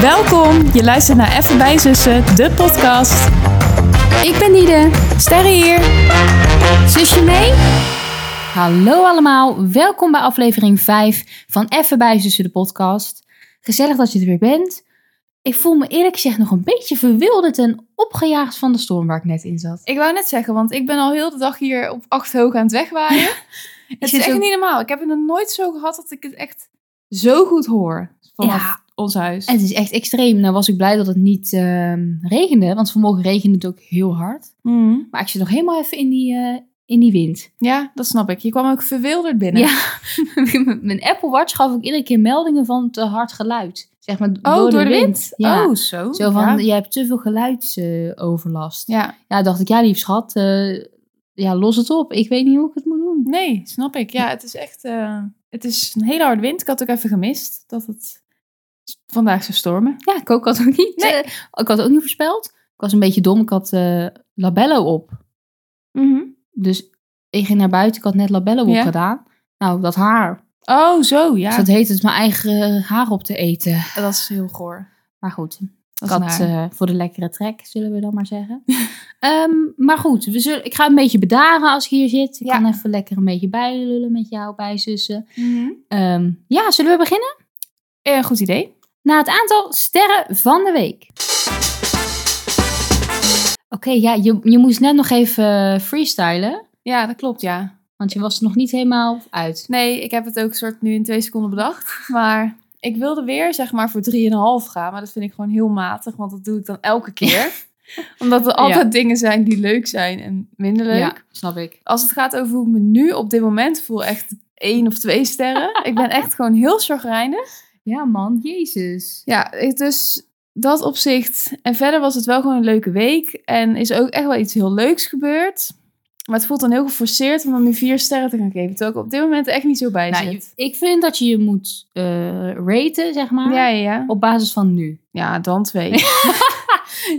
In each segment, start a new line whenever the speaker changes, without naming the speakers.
Welkom, je luistert naar Even bij Zussen, de podcast.
Ik ben Nide.
Sterre hier.
Zusje mee? Hallo allemaal, welkom bij aflevering 5 van Even bij Zussen de podcast. Gezellig dat je er weer bent. Ik voel me eerlijk gezegd nog een beetje verwilderd en opgejaagd van de storm waar ik net in zat.
Ik wou net zeggen, want ik ben al heel de dag hier op acht hoog aan het wegwaaien. het
zit
is echt
ook-
niet normaal. Ik heb het nog nooit zo gehad dat ik het echt zo goed hoor vanaf
Ja.
ons huis.
Het is echt extreem. Nou was ik blij dat het niet ehm, regende, want vanmorgen regende het ook heel hard.
Mm.
Maar ik zit nog helemaal even in die, eh, in die wind.
Ja, dat snap ik. Je kwam ook verwilderd binnen.
Ja, mijn Apple Watch gaf ook iedere keer meldingen van te hard geluid. Zeg maar
Oh, door, de wind.
Ja.
Oh, zo.
Zo van,
Ja.
je hebt te veel geluidsoverlast. ja.
ja.
dacht ik, ja lief schat, eh, ja, los het op. Ik weet niet hoe ik het moet doen.
Nee, snap ik. Ja, het is echt... eh, het is een hele harde wind. Ik had ook even gemist dat het vandaag zou stormen.
Ja, ik ook had ook niet,
Nee.
eh, ik had ook niet voorspeld. Ik was een beetje dom, ik had eh, labello op.
Mhm.
Dus ik ging naar buiten, ik had net labello
Ja.
opgedaan. Nou, dat haar.
Oh, zo, ja.
Dus dat heet het mijn eigen eh, haar op te eten.
Dat is heel goor.
Maar goed,
Dat
ik had eh, voor de lekkere trek, zullen we dan maar zeggen. Ehm, maar goed, we zullen, ik ga een beetje bedaren als ik hier zit. Ik
Ja.
kan even lekker een beetje bijlullen met jou, bijzussen. Ehm ja, zullen we beginnen?
Een Mhm. goed idee.
Na het aantal sterren van de week. Oké, ja, je, je moest net nog even eh, freestylen.
Ja, dat klopt, ja.
Want je was er nog niet helemaal uit.
Nee, ik heb het ook soort nu in twee seconden bedacht. Maar ik wilde weer zeg maar voor 3,5 gaan. Maar dat vind ik gewoon heel matig, want dat doe ik dan elke keer. Omdat er altijd dingen zijn die leuk zijn en minder leuk.
Ja, snap ik.
Als het gaat over hoe ik me nu op dit moment voel, echt één of twee sterren. ik ben echt gewoon heel chagrijnig.
Ja man, jezus.
Ja, ik- dus dat opzicht. En verder was het wel gewoon een leuke week. En is ook echt wel iets heel leuks gebeurd. Maar het voelt dan heel geforceerd om dan nu vier sterren te gaan geven. Terwijl ik op dit moment echt niet zo bij
Nou,
zit.
je- ik vind dat je je moet eh, raten, zeg maar.
Ja, ja, ja.
Op basis van nu.
Ja, dan twee.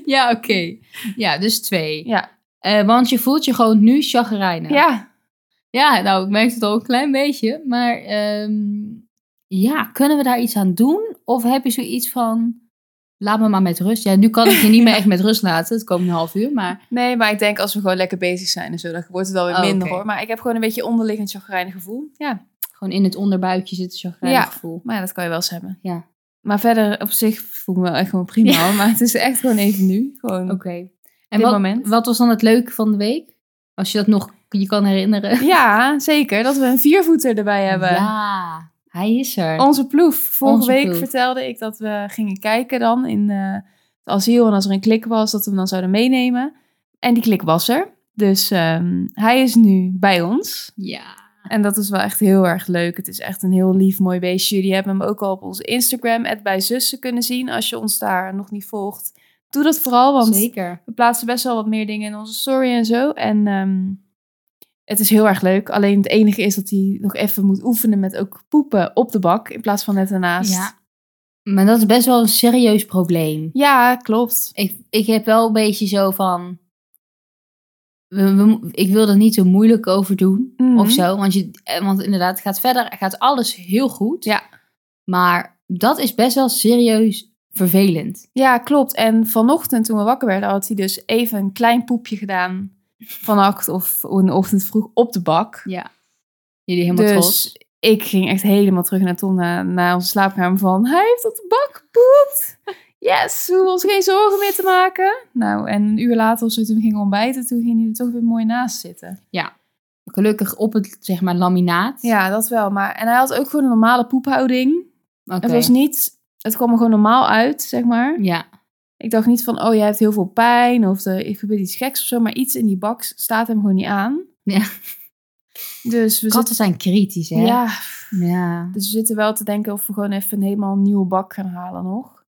Ja, oké. Ja, dus twee.
Ja.
Eh, want je voelt je gewoon nu chagrijnig.
ja.
Ja, nou, ik merk het al een klein beetje. Maar ehm, ja, kunnen we daar iets aan doen? Of heb je zoiets van, laat me maar met rust. Ja, nu kan ik je niet meer echt met rust laten. Het komt een half uur, maar...
Nee, maar ik denk als we gewoon lekker bezig zijn en zo, dan wordt het wel weer
Oh,
minder
oké.
hoor. Maar ik heb gewoon een beetje onderliggend chagrijnig gevoel. Ja,
Gewoon in het onderbuikje zit een chagrijnig
Ja.
gevoel.
maar ja, dat kan je wel eens hebben.
Ja.
Maar verder op zich voel ik me wel echt gewoon prima hoor. Maar het is echt gewoon even nu. Gewoon.
Oké. En
Mm. Dit
wat,
moment.
wat was dan het leuke van de week? Als je dat nog je kan herinneren.
Ja, zeker. Dat we een viervoeter erbij hebben.
Ja, hij is er.
Onze ploef. Vorige
Onze
week
ploeg.
vertelde ik dat we gingen kijken dan in eh, het asiel. En als er een klik was, dat we hem dan zouden meenemen. En die klik was er. Dus ehm, hij is nu bij ons.
Ja.
En dat is wel echt heel erg leuk. Het is echt een heel lief, mooi beestje. Jullie hebben hem ook al op onze Instagram, bij zussen, kunnen zien. Als je ons daar nog niet volgt, doe dat vooral. Want
Zeker.
we plaatsen best wel wat meer dingen in onze story en zo. En ehm, het is heel erg leuk. Alleen het enige is dat hij nog even moet oefenen met ook poepen op de bak. In plaats van net ernaast.
Ja. Maar dat is best wel een serieus probleem.
Ja, klopt.
Ik, ik heb wel een beetje zo van. we- we mo- ik wil er niet zo moeilijk over doen
Mhm.
of zo. Want, je, eh, want inderdaad, het gaat verder. Het gaat alles heel goed.
Ja.
Maar dat is best wel serieus vervelend.
Ja, klopt. En vanochtend toen we wakker werden, had hij dus even een klein poepje gedaan. Vannacht of in de ochtend vroeg op de bak.
Ja. Jullie helemaal
dus
trots.
ik ging echt helemaal terug naar Tom, naar, naar onze slaapkamer van... Hij heeft op de bak gepoept! Yes, we hoeven ons geen zorgen meer te maken. Nou, en een uur later of zo, toen we gingen ontbijten, toen ging hij er toch weer mooi naast zitten.
Gelukkig op het zeg maar laminaat.
Ja, dat wel. Maar, en hij had ook gewoon een normale poephouding.
Oké.
Het was niet... Het kwam er gewoon normaal uit, zeg maar.
Ja.
Ik dacht niet van, oh, jij hebt heel veel pijn of er er gebeurt iets geks of zo. Maar iets in die bak staat hem gewoon niet aan.
Ja.
Dus we
Katten zijn kritisch, hè?
zitten... Ja,
Ja.
Dus we zitten wel te denken of we gewoon even een helemaal nieuwe bak gaan halen nog.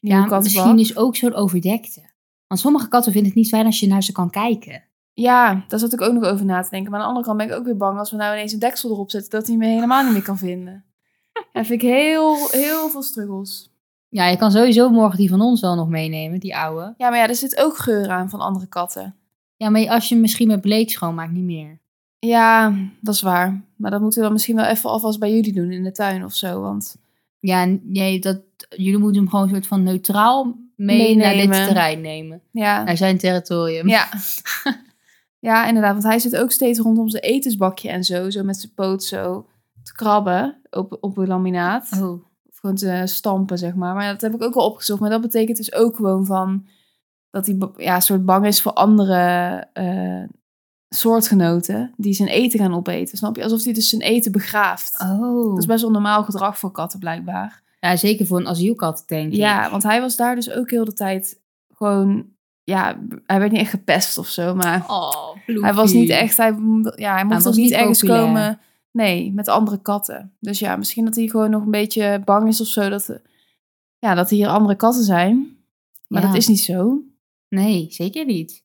Nieuwe
Ja,
kattenbak.
misschien is ook zo'n overdekte. Want sommige katten vinden het niet fijn als je naar ze kan kijken.
Ja, daar zat ik ook nog over na te denken. Maar aan de andere kant ben ik ook weer bang als we nou ineens een deksel erop zetten... dat hij me helemaal niet meer kan vinden. Ja, vind ik heel, heel veel struggles.
Ja, je kan sowieso morgen die van ons wel nog meenemen, die oude.
Ja, maar ja, er zit ook geur aan van andere katten.
Ja, maar als je hem misschien met bleek schoonmaakt, niet meer.
Ja, dat is waar. Maar dat moeten we dan misschien wel even alvast bij jullie doen in de tuin of zo. Want
Ja, n- nee, dat, jullie moeten hem gewoon een soort van neutraal mee naar
Meenemen.
dit terrein nemen.
Ja.
Naar zijn territorium.
Ja. ja, inderdaad. Want hij zit ook steeds rondom zijn etensbakje en zo. Zo met zijn poot zo te krabben op, op het laminaat.
Oh.
Of gewoon te stampen, zeg maar. Maar dat heb ik ook al opgezocht. Maar dat betekent dus ook gewoon van... Dat hij ba- ja, een soort bang is voor andere eh, soortgenoten die zijn eten gaan opeten. Snap je? Alsof hij dus zijn eten begraaft.
oh.
Dat is best wel normaal gedrag voor katten, blijkbaar.
Ja, zeker voor een asielkat, denk ik.
Ja, want hij was daar dus ook heel de tijd gewoon... Ja, hij werd niet echt gepest of zo, maar...
Oh,
Hij was niet echt... Hij, m- ja, hij mocht
was
ook niet
niet
ergens
populair.
komen... Nee, met andere katten. Dus ja, misschien dat hij gewoon nog een beetje bang is of zo... dat, ja, dat hier andere katten zijn. Maar
Ja.
dat is niet zo.
Nee, zeker niet.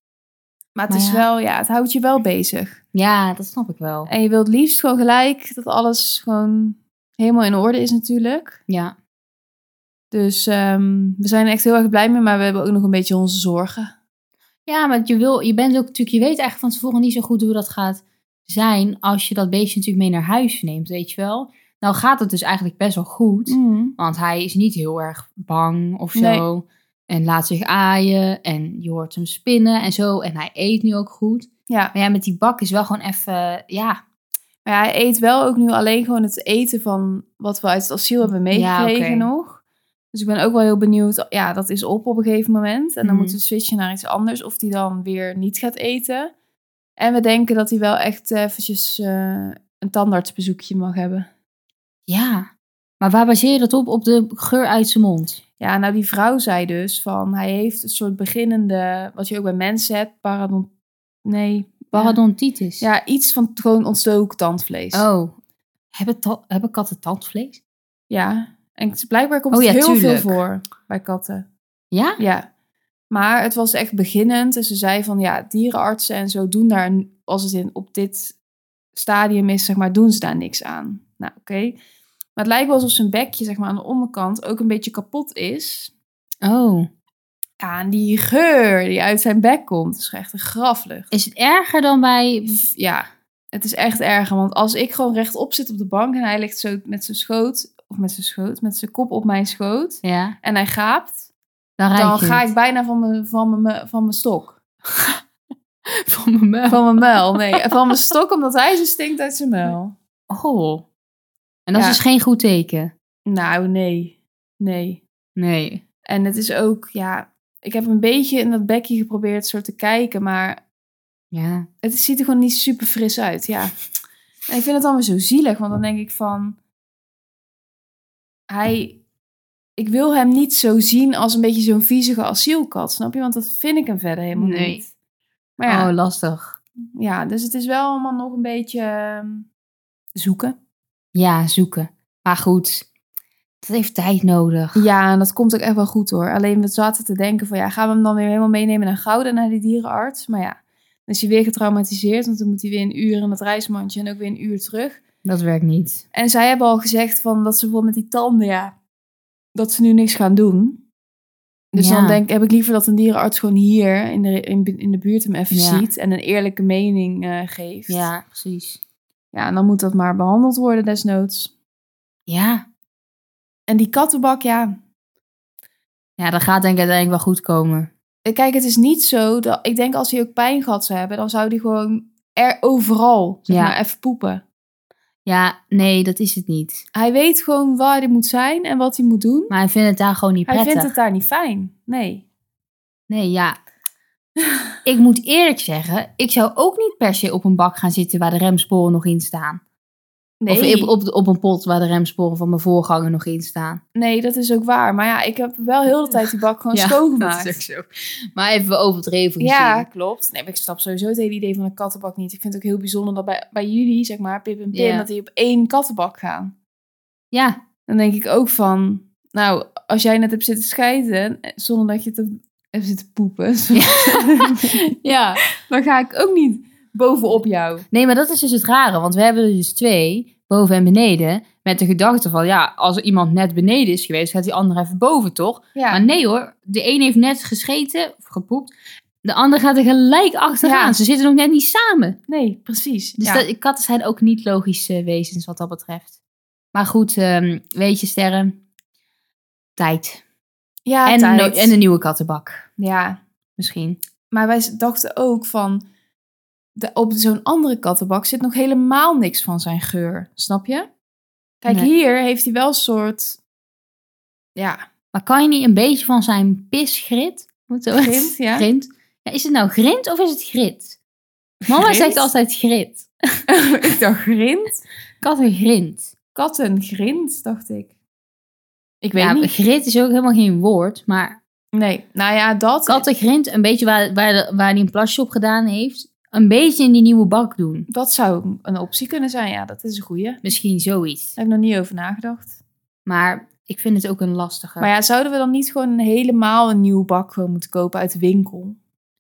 Maar het
Maar
is
ja.
wel... Ja, het houdt je wel bezig.
Ja, dat snap ik wel.
En je wilt liefst gewoon gelijk... dat alles gewoon helemaal in orde is natuurlijk.
Ja.
Dus ehm, we zijn er echt heel erg blij mee... maar we hebben ook nog een beetje onze zorgen.
Ja, maar je, wil, je bent ook natuurlijk, je weet eigenlijk van tevoren niet zo goed hoe dat gaat zijn als je dat beestje natuurlijk mee naar huis neemt, weet je wel. Nou gaat het dus eigenlijk best wel goed, want hij is niet heel erg bang of zo. En laat zich aaien en je hoort hem spinnen en zo. En hij eet nu ook goed.
Ja.
Maar ja, met die bak is wel gewoon even, ja.
Maar ja, hij eet wel ook nu alleen gewoon het eten van wat we uit het asiel hebben meegekregen
Ja, oké.
nog. Dus ik ben ook wel heel benieuwd. oh, Ja, dat is op op een gegeven moment. En dan
Mhm.
moeten we switchen naar iets anders. Of die dan weer niet gaat eten. En we denken dat hij wel echt eventjes eh, een tandartsbezoekje mag hebben.
Ja. Maar waar baseer je dat op? Op de geur uit zijn mond?
Ja, nou die vrouw zei dus van... Hij heeft een soort beginnende... Wat je ook bij mensen hebt. Paradon... Nee.
Parodontitis.
Ja, iets van t- gewoon ontstoken tandvlees.
Oh. Hebben, ta- hebben katten tandvlees?
Ja. En het- blijkbaar komt
Oh
het
ja,
heel
tuurlijk.
veel voor bij katten.
Ja?
Ja. Maar het was echt beginnend. En ze zei van ja, dierenartsen en zo doen daar, n- als het in, op dit stadium is, zeg maar, doen ze daar niks aan. Nou, oké. Maar het lijkt wel alsof zijn bekje, zeg maar, aan de onderkant ook een beetje kapot is.
Oh.
Ja, en die geur die uit zijn bek komt, is echt een graflucht.
Is het erger dan bij...
Ja, het is echt erger. Want als ik gewoon rechtop zit op de bank en hij ligt zo met zijn schoot, of met zijn schoot, met zijn kop op mijn schoot,
Ja.
en hij gaapt,
Dan, ruik
dan
je
ga
het.
ik bijna van mijn, van mijn, van mijn stok.
van mijn muil.
Van mijn muil, nee. Van mijn stok, omdat hij ze stinkt uit zijn muil.
Oh. En dat
Ja.
is dus geen goed teken.
Nou, nee. Nee.
Nee.
En het is ook, ja... Ik heb een beetje in dat bekje geprobeerd soort te kijken, maar
Ja.
het ziet er gewoon niet super fris uit, ja. En ik vind het dan weer zo zielig, want dan denk ik van... Hij... Ik wil hem niet zo zien als een beetje zo'n viezige asielkat, snap je? Want dat vind ik hem verder helemaal
Nee.
niet. Maar ja,
Oh, lastig.
ja, dus het is wel allemaal nog een beetje ehm, zoeken.
Ja, zoeken. Maar goed. Dat heeft tijd nodig.
Ja, en dat komt ook echt wel goed hoor. Alleen we zaten te denken van ja, gaan we hem dan weer helemaal meenemen naar Gouden, naar die dierenarts? Maar ja, dan is hij weer getraumatiseerd, want dan moet hij weer een uur in dat reismandje en ook weer een uur terug.
Dat werkt niet.
En zij hebben al gezegd van dat ze bijvoorbeeld met die tanden, ja, dat ze nu niks gaan doen. Dus
Ja.
dan denk, heb ik liever dat een dierenarts gewoon hier in de, in, in de buurt hem even
Ja.
ziet en een eerlijke mening eh, geeft.
Ja, precies.
ja, en dan moet dat maar behandeld worden desnoods.
Ja.
En die kattenbak, ja,
Ja, dat gaat denk ik uiteindelijk wel goed komen.
Kijk, het is niet zo dat. Ik denk als hij ook pijn gehad zou hebben, dan zou hij gewoon er overal zeg
Ja.
maar, even poepen.
Ja, nee, dat is het niet.
Hij weet gewoon waar hij moet zijn en wat hij moet doen.
Maar hij vindt het daar gewoon niet
Hij
prettig.
vindt het daar niet fijn. Nee.
Nee, ja. ik moet eerlijk zeggen, ik zou ook niet per se op een bak gaan zitten waar de remsporen nog in staan.
Nee.
Of op, op, op een pot waar de remsporen van mijn voorganger nog in staan.
nee, dat is ook waar. Maar ja, ik heb wel heel de tijd die bak gewoon
Ja,
schoongemaakt.
zo. Maar even overdreven gezien.
Ja, klopt. Nee, maar ik snap sowieso het hele idee van een kattenbak niet. Ik vind het ook heel bijzonder dat bij, bij jullie, zeg maar, Pip en Pim,
Ja.
dat die op één kattenbak gaan.
Ja,
Dan denk ik ook van, nou, als jij net hebt zitten scheiden, eh, zonder dat je te, hebt zitten poepen, ja. dan ga ik ook niet bovenop jou.
nee, maar dat is dus het rare. Want we hebben er dus twee, boven en beneden. Met de gedachte van, ja, als er iemand net beneden is geweest, gaat die andere even boven, toch?
Ja,
Maar nee hoor, de een heeft net gescheten, of gepoept. De ander gaat er gelijk achteraan.
Ja.
Ze zitten nog net niet samen.
nee, precies.
Dus
ja.
dat, katten zijn ook niet logische wezens wat dat betreft. Maar goed, ehm, weet je sterren. Tijd.
Ja,
en,
tijd.
no- en een nieuwe kattenbak.
Ja,
Misschien.
maar wij dachten ook van... De, op zo'n andere kattenbak zit nog helemaal niks van zijn geur. Snap je? Kijk,
Nee.
hier heeft hij wel een soort... Ja,
Maar kan je niet een beetje van zijn pisgrit? Moet zo-
grind, ja.
Grind. Ja, is het nou grind of is het grit? Mama
Grind?
zegt altijd grit.
ik dacht grind.
Katten grind.
Kattengrind, dacht ik. Ik weet
ja,
niet.
grit is ook helemaal geen woord, maar
Nee, nou ja, dat...
kattengrind, een beetje waar, waar, de- waar hij een plasje op gedaan heeft, een beetje in die nieuwe bak doen.
Dat zou een optie kunnen zijn. Ja, dat is een goeie. Daar
Misschien zoiets.
heb ik nog niet over nagedacht.
Maar ik vind het ook een lastige.
Maar ja, zouden we dan niet gewoon helemaal een nieuwe bak gewoon moeten kopen uit de winkel?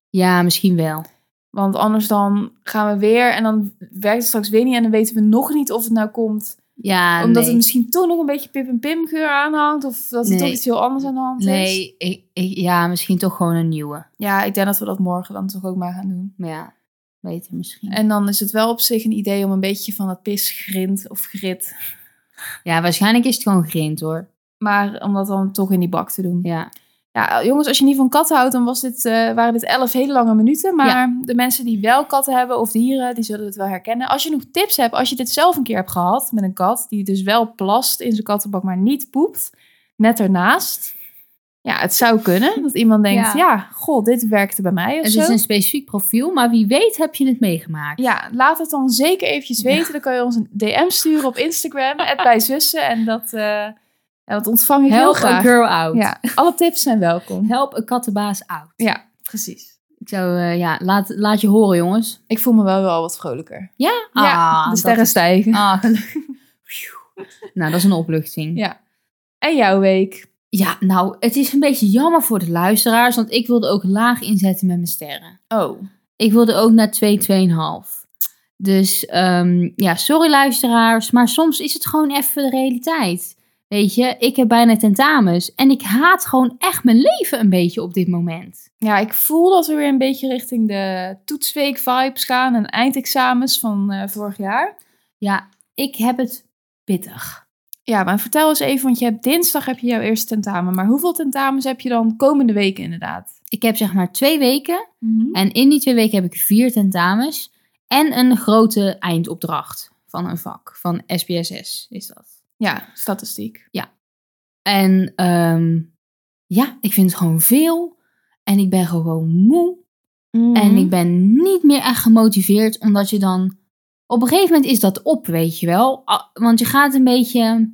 Ja, misschien wel.
Want anders dan gaan we weer en dan werkt het straks weer niet. En dan weten we nog niet of het nou komt.
Ja,
omdat
nee.
het misschien toch nog een beetje pip en pim geur aanhangt. Of dat er
Nee.
toch iets heel anders aan de hand is.
Nee, ik, ik- ja, misschien toch gewoon een nieuwe.
Ja, ik denk dat we dat morgen dan toch ook maar gaan doen.
Maar ja, beter misschien.
En dan is het wel op zich een idee om een beetje van dat pisgrind of grit.
Ja, waarschijnlijk is het gewoon grind hoor.
Maar om dat dan toch in die bak te doen.
Ja.
Ja, eh, jongens, als je niet van katten houdt, dan was dit, eh, waren dit elf hele lange minuten. Maar de mensen die wel katten hebben of dieren, die zullen het wel herkennen. Als je nog tips hebt, als je dit zelf een keer hebt gehad met een kat, die dus wel plast in zijn kattenbak, maar niet poept, net ernaast. Ja, het zou kunnen dat iemand denkt,
Ja.
ja, goh, dit werkte bij mij of
Het
zo.
is een specifiek profiel, maar wie weet heb je het meegemaakt.
Ja, laat het dan zeker eventjes weten. Dan kan je ons een DM sturen op Instagram, bij zussen. En dat, eh, ja, dat ontvang ik heel
Help a
graag.
girl out.
Ja, alle tips zijn welkom.
Help een kattenbaas out.
Ja, precies.
Ik zou, eh, ja, laat, laat je horen jongens.
Ik voel me wel wel wat vrolijker.
Ja?
ja,
Ah,
de
dat
sterren
is-
stijgen.
Ah, gelukkig. Phew. nou, dat is een opluchting.
Ja. En jouw week?
Ja, nou, het is een beetje jammer voor de luisteraars, want ik wilde ook laag inzetten met mijn sterren.
Oh.
Ik wilde ook naar 2, 2,5. Dus ehm, ja, sorry luisteraars, maar soms is het gewoon even de realiteit. Weet je, ik heb bijna tentamens en ik haat gewoon echt mijn leven een beetje op dit moment.
Ja, ik voel dat we weer een beetje richting de toetsweek vibes gaan en eindexamens van eh, vorig jaar.
Ja, ik heb het pittig.
Ja, maar vertel eens even, want je hebt dinsdag heb je jouw eerste tentamen. Maar hoeveel tentamens heb je dan komende week inderdaad?
Ik heb zeg maar twee weken
En-
en in die twee weken heb ik vier tentamens en een grote eindopdracht van een vak, van SPSS is dat.
Ja, statistiek.
En ehm, ja, ik vind het gewoon veel. En ik ben gewoon moe.
Mhm.
En ik ben niet meer echt gemotiveerd, omdat je dan... Op een gegeven moment is dat op, weet je wel. A- Want je gaat een beetje...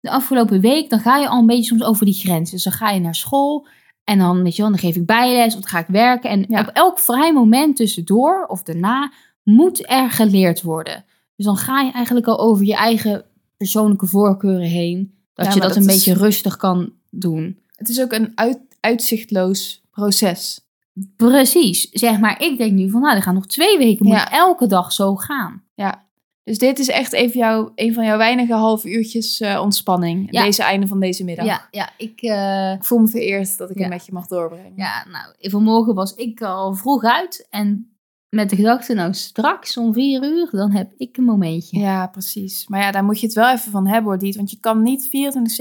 De afgelopen week, dan ga je al een beetje soms over die grens. Dus dan ga je naar school en dan, weet je wel, dan geef ik bijles of dan ga ik werken. En
Ja.
op elk vrij moment tussendoor of daarna moet er geleerd worden. Dus dan ga je eigenlijk al over je eigen persoonlijke voorkeuren heen. Dat
Ja,
je
maar
dat,
dat
een
is-
beetje rustig kan doen.
Het is ook een uit- uitzichtloos proces.
Precies. Zeg maar, ik denk nu van, nou, er gaan nog twee weken. Moet
Ja.
elke dag zo gaan.
Dus dit is echt even jouw, een van jouw weinige half uurtjes eh, ontspanning.
Ja.
Deze einde van deze middag.
Ja, ja, ik... eh,
Ik voel me vereerd dat ik
Ja.
het met je mag doorbrengen.
ja, nou, vanmorgen was ik al vroeg uit. En met de gedachte, nou, straks om vier uur, dan heb ik een momentje.
Ja, precies. Maar ja, daar moet je het wel even van hebben hoor, Diet. Want je kan niet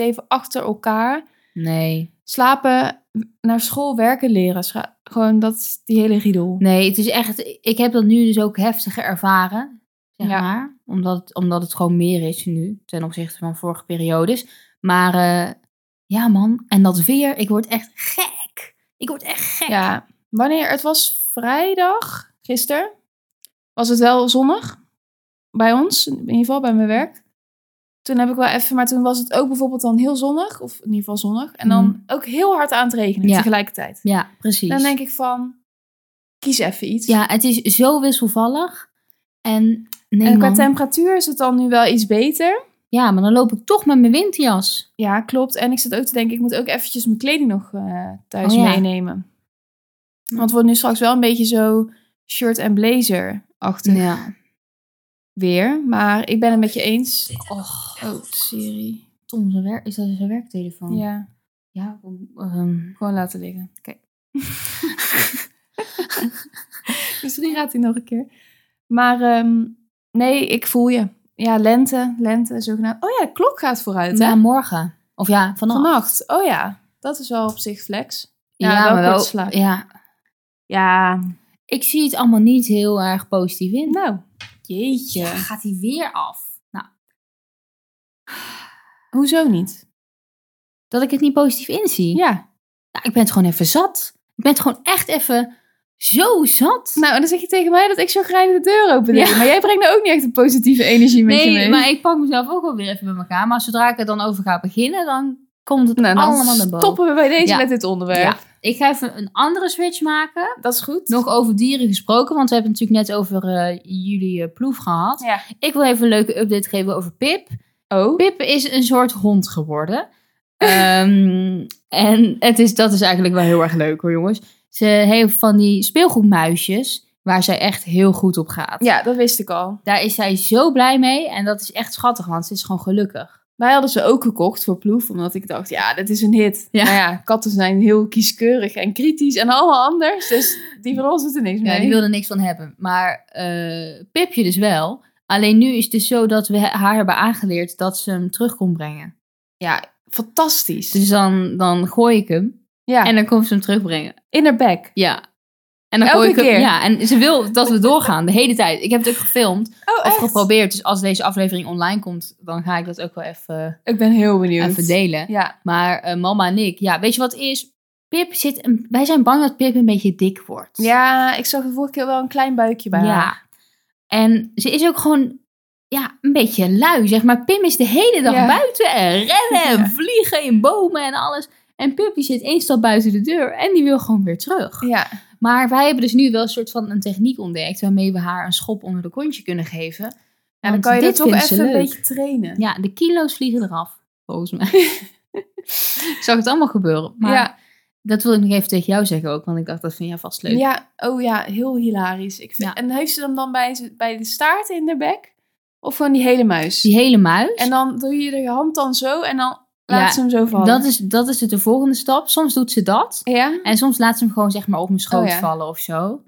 24-7 achter elkaar
Nee.
slapen, naar school, werken, leren. Scha- gewoon dat is die hele riedel.
Nee, het is echt... Ik heb dat nu dus ook heftiger ervaren, zeg
Ja.
maar. Omdat, het- omdat het gewoon meer is nu, ten opzichte van vorige periodes. Maar eh, ja, man. En dat weer, ik word echt gek. Ik word echt gek.
Ja, wanneer? Het was vrijdag, gisteren. Was het wel zonnig? Bij ons, in ieder geval bij mijn werk. Toen heb ik wel even, maar toen was het ook bijvoorbeeld dan heel zonnig, of in ieder geval zonnig. En dan
Mhm.
ook heel hard aan het regenen
Ja.
tegelijkertijd.
Ja, precies.
Dan denk ik van, kies even iets.
Ja, het is zo wisselvallig. En nee,
en qua
man.
temperatuur is het dan nu wel iets beter.
Ja, maar dan loop ik toch met mijn winterjas.
Ja, klopt. En ik zit ook te denken, ik moet ook eventjes mijn kleding nog eh, thuis
Oh, ja.
meenemen. Want het wordt nu straks wel een beetje zo shirt en blazer achter
Ja.
weer. Maar ik ben het met je eens.
Och,
Oh, Siri.
Tom, zijn werk, is dat zijn werktelefoon?
Ja,
Ja, ehm,
gewoon laten liggen.
Oké.
Misschien Dus gaat hij nog een keer. Maar ehm, nee, ik voel je. Ja, lente, lente, zogenaamd. Oh ja, de klok gaat vooruit, hè?
ja, morgen. Of ja, vannacht.
Vannacht. Oh ja, dat is wel op zich flex. Ja,
ja,
wel
maar wel.
kort slaap.
Ja.
Ja,
Ik zie het allemaal niet heel erg positief in.
nou. Jeetje.
Ja, gaat hij weer af? Nou,
Hoezo niet?
dat ik het niet positief inzie.
Ja.
Nou, ik ben het gewoon even zat. Ik ben het gewoon echt even zo zat.
Nou, en dan zeg je tegen mij dat ik zo graag de deur open deed.
Ja.
Maar jij brengt nou ook niet echt een positieve energie met je
nee,
mee.
maar ik pak mezelf ook wel weer even bij elkaar. Maar zodra ik er dan over ga beginnen, dan komt het
nou, dan
allemaal naar boven.
stoppen we bij deze
Ja.
met dit onderwerp.
Ja. Ik ga even een andere switch maken.
Dat is goed.
Nog over dieren gesproken, want we hebben het natuurlijk net over eh, jullie eh, ploeg gehad.
Ja.
Ik wil even een leuke update geven over Pip.
Oh.
Pip is een soort hond geworden. Ehm, en het is, dat is eigenlijk wel heel erg leuk hoor, jongens. Ze heeft van die speelgoedmuisjes, waar zij echt heel goed op gaat.
Ja, dat wist ik al.
Daar is zij zo blij mee en dat is echt schattig, want ze is gewoon gelukkig.
Wij hadden ze ook gekocht voor Ploef, omdat ik dacht, ja, dit is een hit.
Ja.
Maar ja, katten zijn heel kieskeurig en kritisch en allemaal anders. Dus die van ons doet er niks
Ja,
mee.
die wil er niks van hebben. Maar eh, Pipje dus wel. Alleen nu is het dus zo dat we haar hebben aangeleerd dat ze hem terug kon brengen.
Ja, fantastisch.
Dus dan, dan gooi ik hem
ja,
en dan komt ze hem terugbrengen.
in haar bek.
Ja. En dan
Elke
gooi ik hem-
keer?
Ja, en ze wil dat we doorgaan de hele tijd. Ik heb het ook gefilmd
Oh,
of geprobeerd. Dus als deze aflevering online komt, dan ga ik dat ook wel even, eh,
Ik ben heel benieuwd.
even delen.
Ja,
Maar eh, mama en ik, ja, weet je wat het is? Pip zit, een- wij zijn bang dat Pip een beetje dik wordt.
ja, ik zag de vorige keer wel een klein buikje bij haar.
Ja. En ze is ook gewoon ja, een beetje lui, zeg maar. Pim is de hele dag
Ja.
buiten en rennen en
Ja.
vliegen in bomen en alles. En Pip die zit één stap buiten de deur en die wil gewoon weer terug.
Ja,
Maar wij hebben dus nu wel een soort van een techniek ontdekt... waarmee we haar een schop onder de kontje kunnen geven.
en dan
Want
kan je dat
dit
toch
vindt ze
even een
leuk.
beetje trainen.
Ja, de kilo's vliegen eraf, volgens mij. ik zag het allemaal gebeuren. Maar
ja,
dat wil ik nog even tegen jou zeggen ook, want ik dacht dat vind jij vast leuk.
ja, oh ja, heel hilarisch. Ik vind,
Ja.
En heeft ze hem dan bij, ze- bij de staart in haar bek? Of gewoon die hele muis?
Die hele muis,
En dan doe je de hand dan zo en dan laat
Ja,
ze hem zo vallen.
dat is, dat is het de volgende stap. Soms doet ze dat
Ja?
en soms laat ze hem gewoon zeg maar op mijn schoot
Oh ja.
vallen of zo.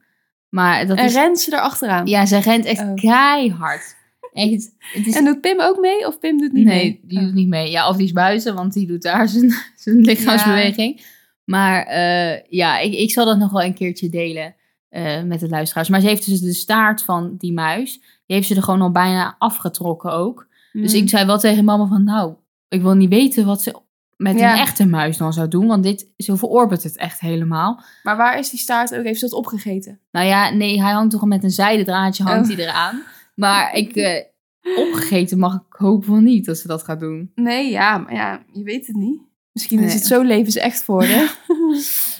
Maar dat
en
is...
rent ze erachteraan.
Ja, zij rent echt
Oh.
keihard. Echt, het is...
En doet Pim ook mee? Of Pim doet niet mee? Oh.
Nee, die doet niet mee. Ja, of die is buiten, want die doet daar zijn, zijn lichaamsbeweging. Maar eh, ja, ik, ik zal dat nog wel een keertje delen eh, met de luisteraars. Maar ze heeft dus de staart van die muis, die heeft ze er gewoon al bijna afgetrokken ook.
Hmm.
Dus
Mm.
ik zei wel tegen mama van, nou, ik wil niet weten wat ze met
Ja.
een echte muis dan zou doen. Want dit, zo verorbert het echt helemaal.
Maar waar is die staart ook? Heeft ze dat opgegeten?
Nou ja, nee, hij hangt toch al met een zijden draadje hangt
Oh.
hij eraan. Maar ik, eh, opgegeten mag ik hopen van niet dat ze dat gaat doen.
Nee, ja, maar ja, je weet het niet. Misschien is
Nee.
het zo levensecht voor haar.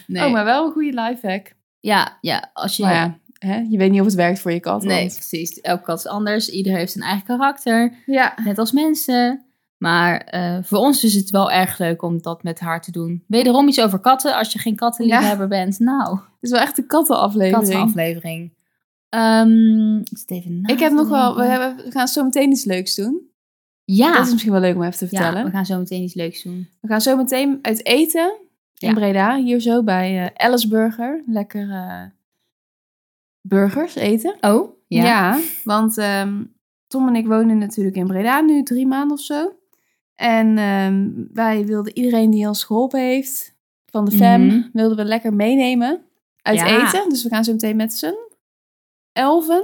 Nee.
Oh, maar wel een goede lifehack.
Ja, ja, als je...
Maar ja, hè? je weet niet of het werkt voor je kat.
Nee,
want-
precies. Elke kat is anders. Ieder heeft zijn eigen karakter.
Ja.
Net als mensen. Maar eh, voor ons is het wel erg leuk om dat met haar te doen. Wederom iets over katten. Als je geen kattenliefhebber bent, nou,
Het is wel echt een kattenaflevering.
kattenaflevering. Ehm, ik zit even na
Ik heb
te
nog wel... We,
denken.
hebben, we gaan zo meteen iets leuks doen.
Ja,
Dat is misschien wel leuk om even te
ja,
vertellen.
we gaan zo meteen iets leuks doen.
We gaan zo meteen uit eten in
Ja.
Breda, hier zo bij eh, Alice Burger. Lekker eh, burgers eten.
Oh, ja.
want ehm, Tom en ik wonen natuurlijk in Breda nu drie maanden of zo. En ehm, wij wilden iedereen die ons geholpen heeft van de fam,
Mhm.
wilden we lekker meenemen uit
Ja.
eten. Dus we gaan zo meteen met z'n elven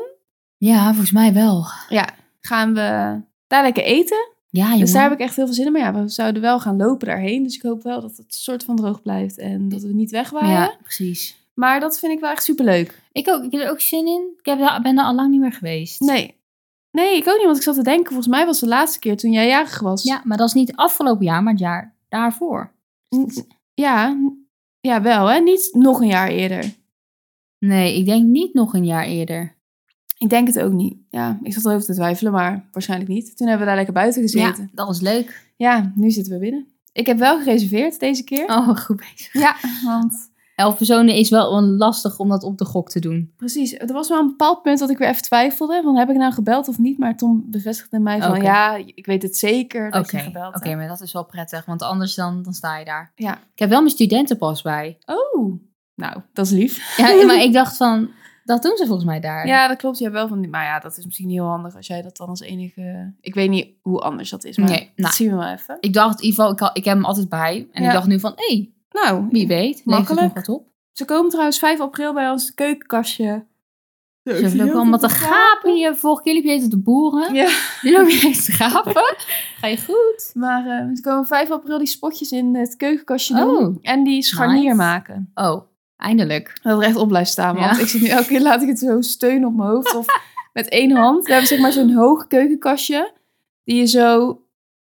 Ja, volgens mij wel.
gaan we daar lekker eten.
Ja, jongen.
Dus daar heb ik echt heel veel zin in. Maar ja, we zouden wel gaan lopen daarheen. Dus ik hoop wel dat het soort van droog blijft en dat we niet weg waren.
Ja, precies.
Maar dat vind ik wel echt superleuk.
Ik, ook, ik heb er ook zin in. Ik heb, daar- ben er al lang niet meer geweest.
Nee. Nee, ik ook niet, want ik zat te denken. Volgens mij was de laatste keer toen jij jarig was.
Ja, maar dat is niet afgelopen jaar, maar het jaar daarvoor.
N- Ja, n- ja wel hè. Niet nog een jaar eerder.
Nee, ik denk niet nog een jaar eerder.
Ik denk het ook niet. Ja, ik zat erover te twijfelen, maar waarschijnlijk niet. Toen hebben we daar lekker buiten gezeten.
dat was leuk.
Ja, nu zitten we binnen. Ik heb wel gereserveerd deze keer.
Oh, goed bezig.
Ja, want
Elf personen is wel een- lastig om dat op de gok te doen.
precies. Er was wel een bepaald punt dat ik weer even twijfelde. Van heb ik nou gebeld of niet? Maar Tom bevestigde mij van
Oké.
ja, ik weet het zeker dat
Oké,
je gebeld
oké, maar dat is wel prettig, want anders dan, dan sta je daar.
Ja.
Ik heb wel mijn studentenpas bij.
hebt. Oh, nou, dat is lief.
Ja, maar ik dacht van, Dat doen ze volgens mij daar.
Ja, dat klopt. Je hebt wel van die. Maar ja, dat is misschien niet heel handig als jij dat dan als enige. Ik weet niet hoe anders dat is. Maar
Nee,
dat
nou.
zien we wel even.
Ik dacht, in ieder geval, ik, had- ik heb hem altijd bij. En ik
Ja.
dacht nu van, hé, hey,
Nou,
wie weet. Makkelijk.
Makkelijk.
Het nog wat op.
ze komen trouwens 5 april bij ons keukenkastje. Ze
Ze hebben ook allemaal te gapen hier. Vorige keer liep je even te boeren.
Ja.
Nu loop je even te gapen. Ga je goed?
Maar eh, ze komen 5 april die spotjes in het keukenkastje doen.
Oh,
En die scharnier
Nice.
maken.
oh eindelijk.
Dat er echt op blijft staan. Want
Ja.
ik zit nu elke keer laat ik het zo steunen op mijn hoofd. Of met één hand. We hebben zeg maar zo'n hoog keukenkastje. Die je zo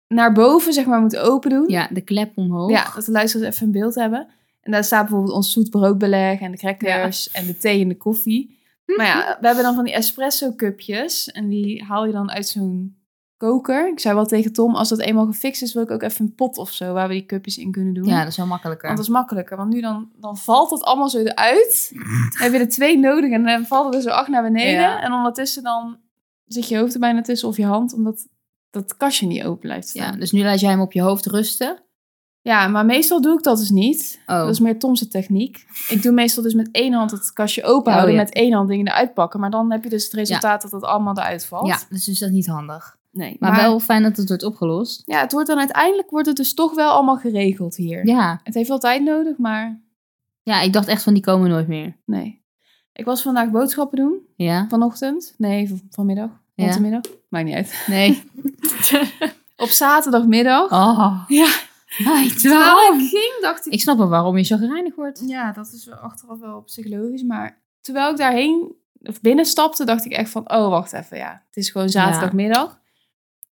naar boven zeg maar moet open doen.
Ja, de klep omhoog.
Ja, dat de luisteraars even een beeld hebben. En daar staat bijvoorbeeld ons zoet broodbeleg en de crackers en de thee en de koffie. Maar ja,
Mhm.
we hebben dan van die espresso cupjes. En die haal je dan uit zo'n koker. Ik zei wel tegen Tom, als dat eenmaal gefixt is, wil ik ook even een pot of zo waar we die cupjes in kunnen doen.
Ja, dat is wel makkelijker.
Want dat is makkelijker. Want nu dan, dan valt dat allemaal zo eruit. Dan heb je er twee nodig en dan valt het er zo acht naar beneden.
Ja.
En ondertussen dan zit je hoofd er bijna tussen of je hand, omdat dat kastje niet open blijft
ja,
staan.
dus nu laat jij hem op je hoofd rusten.
ja, maar meestal doe ik dat dus niet.
Oh,
Dat is meer Tom's techniek. Ik doe meestal dus met één hand het kastje open houden,
Oh, ja.
met één hand dingen eruit pakken. Maar dan heb je dus het resultaat dat het allemaal eruit valt.
ja, dus is dat niet handig.
nee,
Maar, wel fijn dat het wordt opgelost.
Ja, het wordt dan uiteindelijk wordt het dus toch wel allemaal geregeld hier.
Ja.
Het heeft wel tijd nodig, maar
ja, ik dacht echt van die komen nooit meer.
nee. Ik was vandaag boodschappen doen,
Ja?
vanochtend. Nee, van- vanmiddag.
Ja.
Vanmiddag. Maakt niet uit.
Nee.
Op zaterdagmiddag.
Oh.
Ja.
Meid,
Terwijl
waarom?
ik ging, dacht ik...
Ik snap wel waarom je zo gereinigd wordt.
Ja, dat is wel achteraf wel psychologisch. Maar terwijl ik daarheen of binnenstapte, dacht ik echt van... Oh, wacht even. Ja, het is gewoon zaterdagmiddag.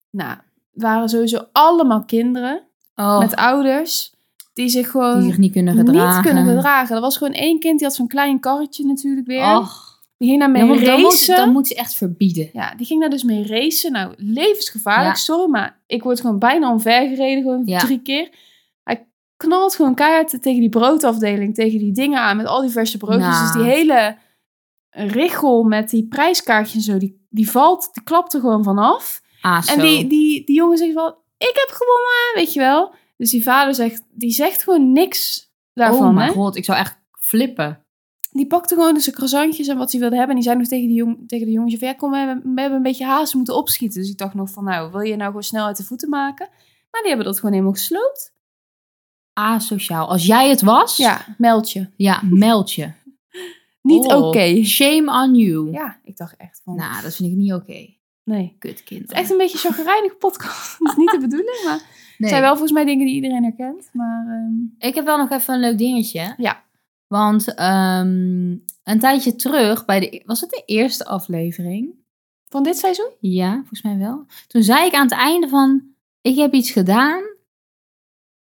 Nou, het waren sowieso allemaal kinderen
Oh,
met ouders... die zich gewoon
die zich niet kunnen gedragen.
niet kunnen gedragen. Er was gewoon één kind, die had zo'n klein karretje natuurlijk weer.
Och.
Die ging daar
Ja,
mee
want dan, moet,
racen.
dan moet ze echt verbieden.
Ja, die ging daar dus mee racen. Nou, levensgevaarlijk,
Ja.
sorry, maar ik word gewoon bijna omvergereden, gewoon
Ja.
drie keer. Hij knalt gewoon keihard tegen die broodafdeling, tegen die dingen aan met al die verse broodjes.
Nou.
Dus die hele richel met die prijskaartjes en zo, die, die valt, die klapt er gewoon vanaf.
Ah, zo.
En die, die, die jongen zegt wel, ik heb gewonnen, weet je wel. Dus die vader zegt, die zegt gewoon niks
oh
daarvan,
mijn
hè.
god, ik zou echt flippen.
Die pakte gewoon dus zijn croissantjes en wat hij wilde hebben. En die zei nog tegen, die jong, tegen de jongens, van, ja, kom, we hebben, we hebben een beetje haast, we moeten opschieten. Dus ik dacht nog van, nou, wil je nou gewoon snel uit de voeten maken? Maar die hebben dat gewoon helemaal gesloopt.
Asociaal. Als jij het was,
Ja, meld je.
ja, meld je.
Niet
Oh,
oké.
Shame on you.
Ja, ik dacht echt van,
Nou, dat vind ik niet oké.
nee.
Kutkind.
Het is echt een beetje een chagrijnige podcast. Dat is niet de bedoeling, maar het
Nee.
zijn wel volgens mij dingen die iedereen herkent. Maar ehm,
Ik heb wel nog even een leuk dingetje.
Ja.
Want ehm, een tijdje terug, bij de, e- was het de eerste aflevering?
van dit seizoen?
Ja, volgens mij wel. Toen zei ik aan het einde van, ik heb iets gedaan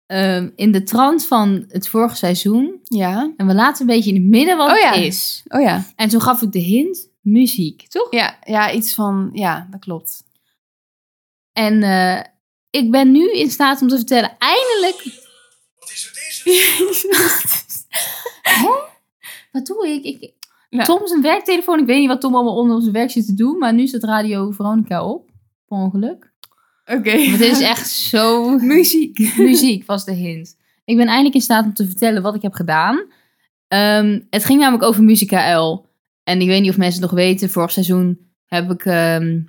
ehm, in de trant van het vorige seizoen.
Ja.
En we laten een beetje in het midden wat
Oh ja.
het is.
Oh ja.
En toen gaf ik de hint, muziek, toch?
Ja, ja iets van, ja, dat klopt.
En eh, ik ben nu in staat om te vertellen, eindelijk...
Wat is er deze?
Wat doe ik? ik
Ja.
Tom zijn werktelefoon, ik weet niet wat Tom allemaal onder op zijn werk zit te doen, maar nu zit Radio Veronica op, per ongeluk.
Oké.
Want dit is echt zo...
Muziek.
Muziek was de hint. Ik ben eindelijk in staat om te vertellen wat ik heb gedaan. Ehm, het ging namelijk over Musica L. En ik weet niet of mensen het nog weten, vorig seizoen heb ik, ehm,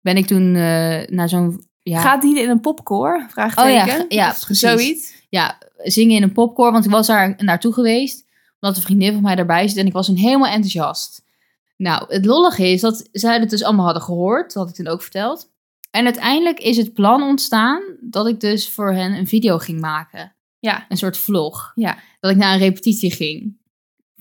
ben ik toen eh, naar zo'n... Ja,
Gaat die in een popcore?
Oh
Vraagteken.
ja, ge- ja,
Of
precies.
Zoiets.
ja, zingen in een popcorn. Want ik was daar naartoe geweest. Omdat een vriendin van mij daarbij zit. En ik was een helemaal enthousiast. Nou, het lollige is dat zij het dus allemaal hadden gehoord. Dat had ik toen ook verteld. En uiteindelijk is het plan ontstaan dat ik dus voor hen een video ging maken.
Ja.
Een soort vlog.
Ja.
Dat ik naar een repetitie ging.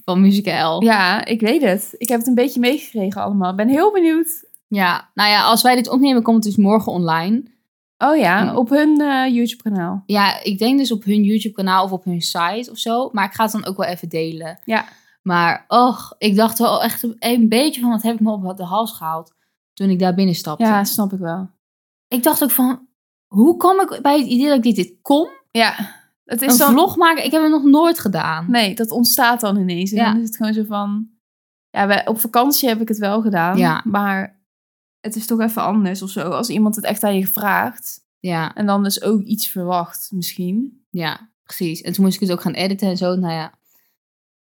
Van Musical.
Ja, ik weet het. Ik heb het een beetje meegekregen allemaal. Ik ben heel benieuwd.
ja. Nou ja, als wij dit opnemen, komt het dus morgen online.
Oh ja,
Hm.
op hun eh, YouTube-kanaal.
Ja, ik denk dus op hun YouTube-kanaal of op hun site of zo. Maar ik ga het dan ook wel even delen.
Ja.
Maar, och, ik dacht wel echt een beetje van wat heb ik me op de hals gehaald toen ik daar binnen stapte.
Ja, snap ik wel.
Ik dacht ook van, hoe kom ik bij het idee dat ik dit, dit kom?
Ja, het is
een
dan...
vlog maken? Ik heb het nog nooit gedaan.
Nee, dat ontstaat dan ineens. En
Ja.
dan is het gewoon zo van... Ja, wij- op vakantie heb ik het wel gedaan.
Ja.
Maar het is toch even anders of zo. Als iemand het echt aan je vraagt.
Ja,
En dan dus ook iets verwacht misschien.
ja, precies. En toen moest ik het ook gaan editen en zo. Nou ja,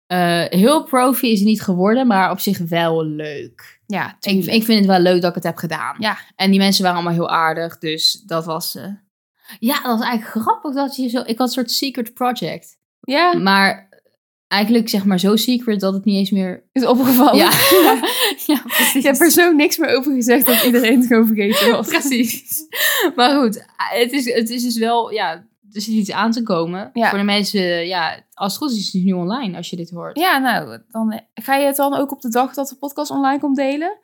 eh, heel profi is het niet geworden, maar op zich wel leuk.
Ja,
Ik,
tuurlijk.
ik vind het wel leuk dat ik het heb gedaan.
Ja.
En die mensen waren allemaal heel aardig, dus dat was... eh, ja, dat was eigenlijk grappig dat je zo... Ik had een soort secret project.
ja,
Maar eigenlijk zeg maar zo secret dat het niet eens meer... Oh.
is opgevallen.
Ja, ja precies.
Ik heb er zo niks meer over gezegd dat iedereen het gewoon vergeten was.
Precies. Maar goed, het is, het is dus wel, ja, er zit iets aan te komen.
Ja.
Voor de mensen, ja, als het goed is, is het nu online als je dit hoort.
Ja, nou, dan eh, ga je het dan ook op de dag dat de podcast online komt delen?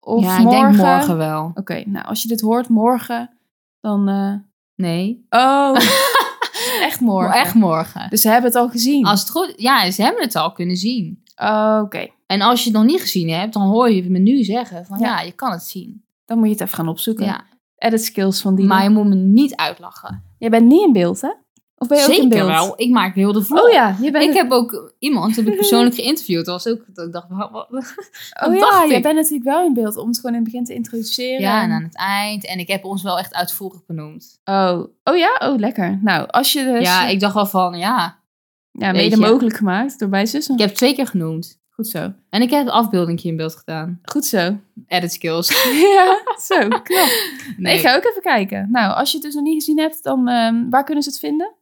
Of
ja,
morgen?
ik denk morgen wel.
Oké, nou, als je dit hoort morgen, dan... eh,
Nee,
Oh, echt morgen.
echt morgen.
Dus ze hebben het al gezien. Oh,
Als het goed, ja, ze hebben het al kunnen zien.
Oké,
En als je het nog niet gezien hebt, dan hoor je me nu zeggen van,
Ja.
ja, je kan het zien.
dan moet je het even gaan opzoeken.
Ja.
Edit skills van die.
Maar je moet me niet uitlachen.
Jij bent niet in beeld, hè? Of ben je ook in
Zeker
beeld?
wel. Ik maak heel de vlog.
Oh ja, je bent
Ik heb ook iemand, heb ik persoonlijk geïnterviewd. Dat was ook, dat ik dacht, wat, wat-
oh
dat
ja,
dacht
je
ik.
bent natuurlijk wel in beeld om het gewoon in het begin te introduceren.
Ja, nou- en aan het eind. En ik heb ons wel echt uitvoerig benoemd.
oh. oh ja, oh lekker. Nou, als je dus...
ja, ik dacht wel van, ja.
ja,
weet
mede
je.
mogelijk gemaakt door bij zussen.
Ik heb twee keer genoemd.
Goed zo.
En ik heb het afbeeldingje in beeld gedaan.
Goed zo.
Edit skills.
ja, zo, knap.
Nee.
Ik ga ook even kijken. Nou, als je het dus nog niet gezien hebt, dan ehm, waar kunnen ze het vinden?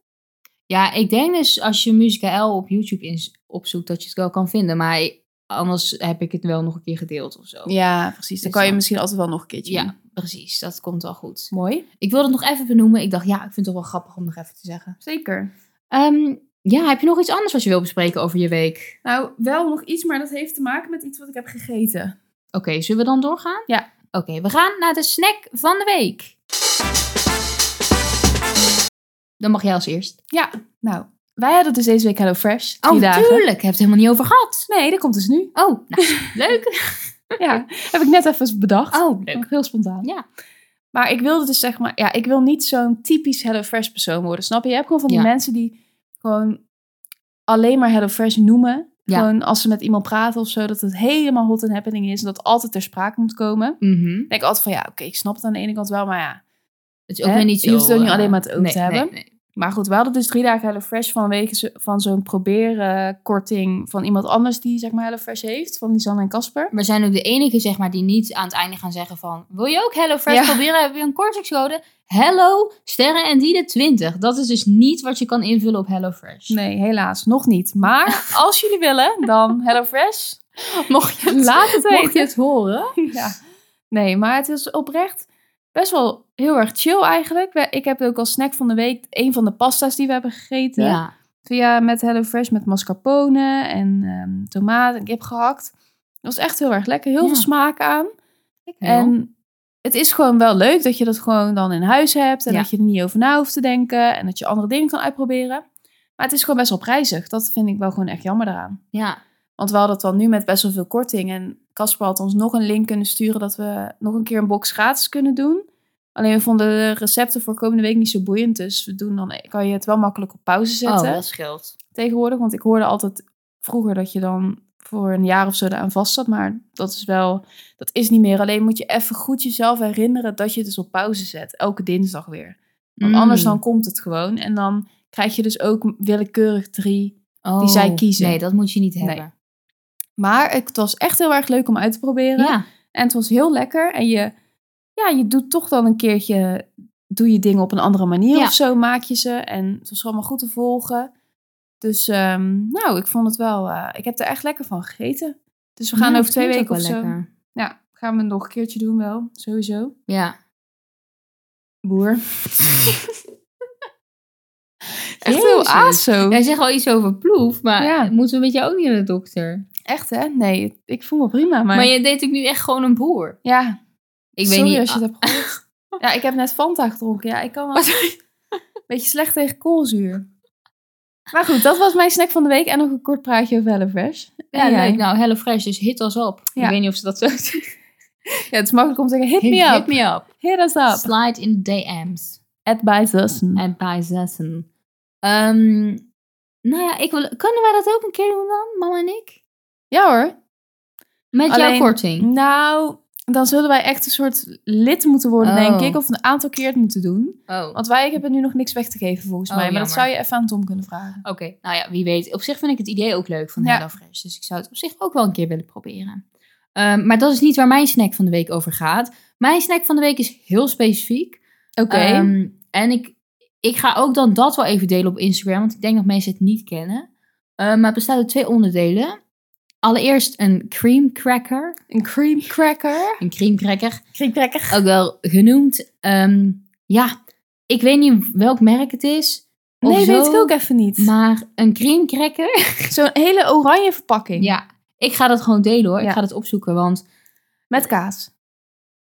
Ja, ik denk dus als je Musica L op YouTube ins- opzoekt, dat je het wel kan vinden. Maar anders heb ik het wel nog een keer gedeeld of zo.
Ja, precies.
Dus dan-
misschien altijd wel nog een keertje
Ja,
doen.
precies. Dat komt wel goed.
Mooi.
Ik wilde het nog even benoemen. Ik dacht, ja, ik vind het wel grappig om nog even te zeggen.
Zeker.
Ehm, ja, heb je nog iets anders wat je wil bespreken over je week?
Nou, wel nog iets, maar dat heeft te maken met iets wat ik heb gegeten.
Oké, zullen we dan doorgaan?
Ja.
Oké, we gaan naar de snack van de week. Dan mag jij als eerst.
Nou, wij hadden dus deze week HelloFresh. Drie
Oh,
dagen.
tuurlijk. Heb je het helemaal niet over gehad.
Nee, dat komt dus nu.
Oh, nou, leuk.
Ja, heb ik net even bedacht.
Oh,
Nog Heel spontaan.
Ja.
Maar ik wilde dus zeg maar, ja, ik wil niet zo'n typisch HelloFresh persoon worden, snap je? Je hebt gewoon van die
Ja.
mensen die gewoon alleen maar HelloFresh noemen.
Ja.
Gewoon als ze met iemand praten of zo, dat het helemaal hot and happening is en dat altijd ter sprake moet komen.
Mhm.
Ik denk altijd van ja, oké, ik snap het aan de ene kant wel, maar ja.
Het is ook
Hè?
weer niet zo...
Je hoeft het ook niet
eh,
alleen maar het oog
nee,
te hebben.
nee, nee.
Maar goed, we hadden dus drie dagen HelloFresh vanwege zo- van zo'n probeerkorting van iemand anders die zeg maar HelloFresh heeft, van Lisanne en Casper.
We zijn ook de enige, zeg maar, die niet aan het einde gaan zeggen van... Wil je ook Hello Fresh
Ja.
proberen? Heb je een kortingscode? Hello, sterren en die de 20. Dat is dus niet wat je kan invullen op Hello Fresh.
Nee, helaas, nog niet. Maar als jullie willen, dan HelloFresh.
Mocht je het,
Laat het
mocht
weten.
je het horen?
ja. Nee, maar het is oprecht best wel heel erg chill eigenlijk. We- Ik heb ook als snack van de week een van de pasta's die we hebben gegeten.
Ja.
Via met HelloFresh met mascarpone en ehm tomaat en kip gehakt. Dat was echt heel erg lekker. Heel
Ja.
veel smaak aan.
En
En het is gewoon wel leuk dat je dat gewoon dan in huis hebt. En
Ja.
dat je er niet over na hoeft te denken. En dat je andere dingen kan uitproberen. Maar het is gewoon best wel prijzig. Dat vind ik wel gewoon echt jammer daaraan.
ja,
Want we hadden het dan nu met best wel veel korting. En Casper had ons nog een link kunnen sturen dat we nog een keer een box gratis kunnen doen. Alleen we vonden de recepten voor komende week niet zo boeiend. Dus we doen dan, kan je het wel makkelijk op pauze
oh,
zetten
dat scheelt.
tegenwoordig. Want ik hoorde altijd vroeger dat je dan voor een jaar of zo eraan vast zat. Maar dat is wel, dat is niet meer. Alleen moet je even goed jezelf herinneren dat je het dus op pauze zet. Elke dinsdag weer. Want anders
Mm.
dan komt het gewoon. En dan krijg je dus ook willekeurig drie
Oh,
zij kiezen.
Nee, dat moet je niet
Nee.
hebben.
Maar het was echt heel erg leuk om uit te proberen.
Ja,
En het was heel lekker. En je, ja, je doet toch dan een keertje, doe je dingen op een andere manier
Ja.
of zo, maak je ze. En het was allemaal goed te volgen. Dus ehm, nou, ik vond het wel, eh, ik heb er echt lekker van gegeten. Dus we gaan
Ja,
over twee
dat
weken of
klinkt
zo.
ook wel lekker.
Ja, gaan we nog een keertje doen wel, sowieso.
Ja.
Boer. echt heel
Jezus.
aso.
Jij zegt wel iets over ploef, maar
Ja.
moeten we met jou ook niet naar de dokter?
Echt hè? Nee, ik voel me prima. Maar,
Maar je deed ook nu echt gewoon een boer.
ja,
Ik
sorry
weet niet. Ah,
als je het hebt gehoord. ah. ja, ik heb net Fanta gedronken. Ja, ik kan wel...
Wat?
Beetje slecht tegen koolzuur. Maar goed, dat was mijn snack van de week. En nog een kort praatje over HelloFresh.
Ja,
En eh, jij?
leuk. Nou, Hello Fresh, dus hit ons op.
Ja.
Ik weet niet of ze dat zo zeggen.
Ja, het is makkelijk om te zeggen, hit me
Hit-
up.
Hit me up.
Hit us up.
Slide in the DM's.
At by Zussen.
En bij zessen. Ehm, nou ja, ik wil, kunnen wij dat ook een keer doen dan, mama en ik?
Ja hoor.
Met jouw
Alleen-
korting.
Nou, Dan zullen wij echt een soort lid moeten worden,
Oh.
denk ik. Of een aantal keer het moeten doen.
Oh, oké.
Want wij hebben nu nog niks weg te geven, volgens
Oh,
mij. Maar dat
jammer.
zou je even aan Tom kunnen vragen.
Nou ja, wie weet. Op zich vind ik het idee ook leuk van
Ja.
HelloFresh. Dus ik zou het op zich ook wel een keer willen proberen. Ehm, maar dat is niet waar mijn snack van de week over gaat. Mijn snack van de week is heel specifiek.
Oké.
Ehm, en ik, ik ga ook dan dat wel even delen op Instagram, want ik denk dat mensen het niet kennen. Ehm, maar het bestaat uit twee onderdelen. Allereerst een cream cracker.
een cream cracker.
Een cream cracker,
Cream cracker.
ook wel genoemd. Ehm, ja, ik weet niet welk merk het is. of
Nee, weet
zo,
ik ook even niet.
Maar een cream cracker.
Zo'n hele oranje verpakking.
Ja, ik ga dat gewoon delen hoor. Ik
Ja.
ga dat opzoeken, want...
Met kaas.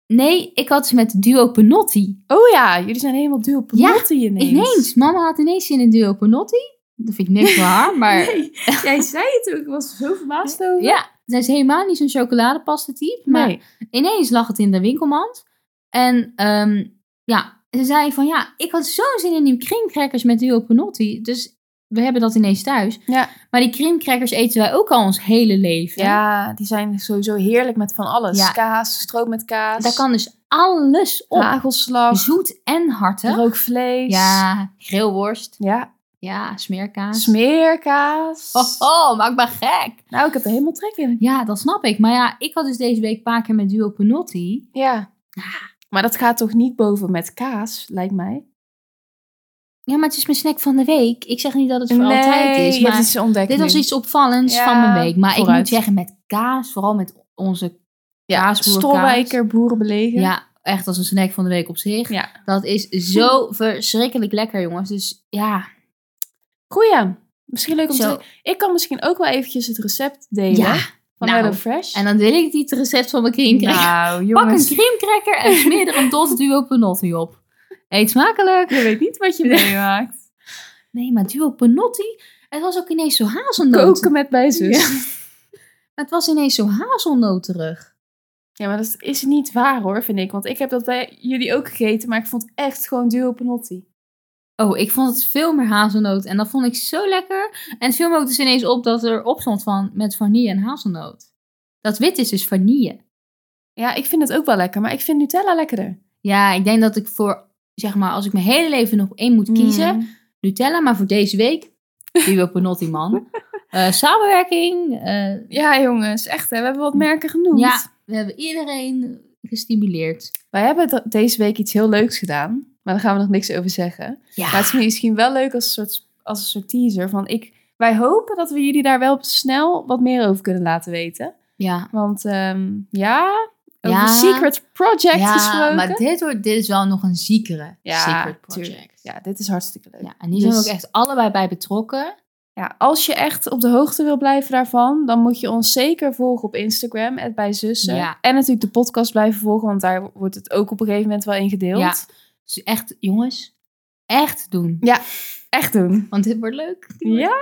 Nee, ik had ze met duo panotti.
Oh ja, jullie zijn helemaal duur op
Ja,
notten ineens.
Ineens, mama had ineens zin in duo panotti. Dat vind ik niks voor haar, maar...
Nee, jij zei het ook. Ik was zo verbaasd over.
Ja, zij is helemaal niet zo'n chocoladepasta type. Maar
Nee.
ineens lag het in de winkelmand. En ehm, ja, ze zei van ja, ik had zo'n zin in die creamcrackers met duo panotti. Dus we hebben dat ineens thuis.
Ja.
Maar die creamcrackers eten wij ook al ons hele leven.
Ja, die zijn sowieso heerlijk met van alles.
Ja.
Kaas, stroop met kaas.
Daar kan dus alles op.
Nagelslag,
Zoet en hartig.
rookvlees.
Ja, grillworst.
Ja,
Ja, smeerkaas.
smeerkaas.
Oh, oh, maak me gek.
Nou, ik heb er helemaal trek in.
Ja, dat snap ik. Maar ja, ik had dus deze week een paar keer met duo panotti.
Ja. Maar dat gaat toch niet boven met kaas, lijkt mij?
Ja, maar het is mijn snack van de week. Ik zeg niet dat het voor altijd is,
ja,
maar
dit is een ontdekking.
dit was iets opvallends
Ja,
van mijn week. Maar ik
vooruit.
moet zeggen, met kaas, vooral met onze
ja,
kaasboerkaas.
Stolwijker, boerenbelegen.
Ja, echt als een snack van de week op zich.
Ja.
Dat is zo verschrikkelijk lekker, jongens. Dus ja,
Goeie. Misschien leuk om
zo.
te... Ik kan misschien ook wel eventjes het recept delen
Ja,
van
nou,
HelloFresh.
En dan wil ik niet het recept van mijn creamcracker.
Nou,
Pak een
jongens.
creamcracker en smeer er een dot duo panotti op. Eet smakelijk.
Je weet niet wat je meemaakt.
Nee, maar duo panotti. Het was ook ineens zo hazelnoot.
Koken met bij zus. Ja.
Het was ineens zo hazelnoterig.
maar dat is niet waar hoor, vind ik. Want ik heb dat bij jullie ook gegeten, maar ik vond echt gewoon duo panotti.
Oh, ik vond het veel meer hazelnoot. En dat vond ik zo lekker. En het viel me ook dus ineens op dat er op stond van met vanille en hazelnoot. Dat wit is dus vanille.
Ja, ik vind het ook wel lekker, maar ik vind Nutella lekkerder.
Ja, ik denk dat ik voor, zeg maar, als ik mijn hele leven nog één moet kiezen,
Mm.
Nutella. Maar voor deze week, die wil Panotti man. Eh, samenwerking. eh,
Ja, jongens, echt hè. We hebben wat merken genoemd.
ja, we hebben iedereen gestimuleerd.
Wij hebben d- deze week iets heel leuks gedaan, maar daar gaan we nog niks over zeggen. Maar
Ja,
het is misschien wel leuk als een soort, als een soort teaser. Van ik, wij hopen dat we jullie daar wel snel wat meer over kunnen laten weten.
ja.
Want ehm, ja, over
Ja.
Secret Project
ja
gesproken.
maar dit, wordt, dit is wel nog een ziekere
Ja,
secret project.
tuurlijk. Ja, dit is hartstikke leuk. Ja.
Ja, en die zijn
Dus-
we ook echt allebei bij betrokken.
als je echt op de hoogte wil blijven daarvan, dan moet je ons zeker volgen op Instagram, het bij zussen.
Ja.
En natuurlijk de podcast blijven volgen, want daar wordt het ook op een gegeven moment wel in gedeeld.
Ja. Dus echt, jongens, echt doen.
Echt doen.
Want dit wordt leuk. Dit wordt-
Ja,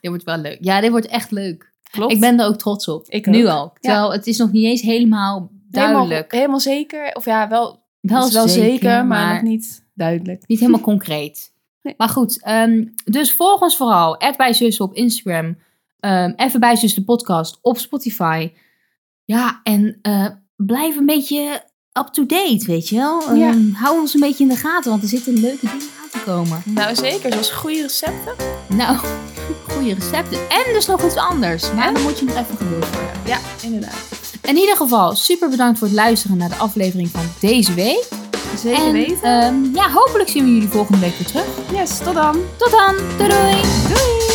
Dit wordt wel leuk. Ja, dit wordt echt leuk.
klopt.
Ik ben er ook trots op.
Ik
nu
ook.
al. Terwijl het is nog niet eens helemaal
helemaal,
duidelijk.
helemaal zeker. Of ja, wel, het is
wel zeker,
maar,
maar
nog niet duidelijk.
niet helemaal concreet.
Nee.
Maar goed, ehm, dus volg ons vooral. Add bij zus op Instagram. Ehm even bij zus de podcast op Spotify. Ja, en eh, blijf een beetje up-to-date, weet je wel.
Ja.
Ehm, hou ons een beetje in de gaten, want er zitten leuke dingen aan te komen.
Nou zeker, zoals goede recepten.
Nou, goede recepten. En dus nog iets anders. Maar dan moet je nog even geduld voor hebben.
Ja, inderdaad.
In ieder geval, super bedankt voor het luisteren naar de aflevering van deze week.
Zeker
en
weten.
ehm, ja, hopelijk zien we jullie volgende week weer terug.
Yes, tot dan.
Tot dan. Doei doei.
Doei!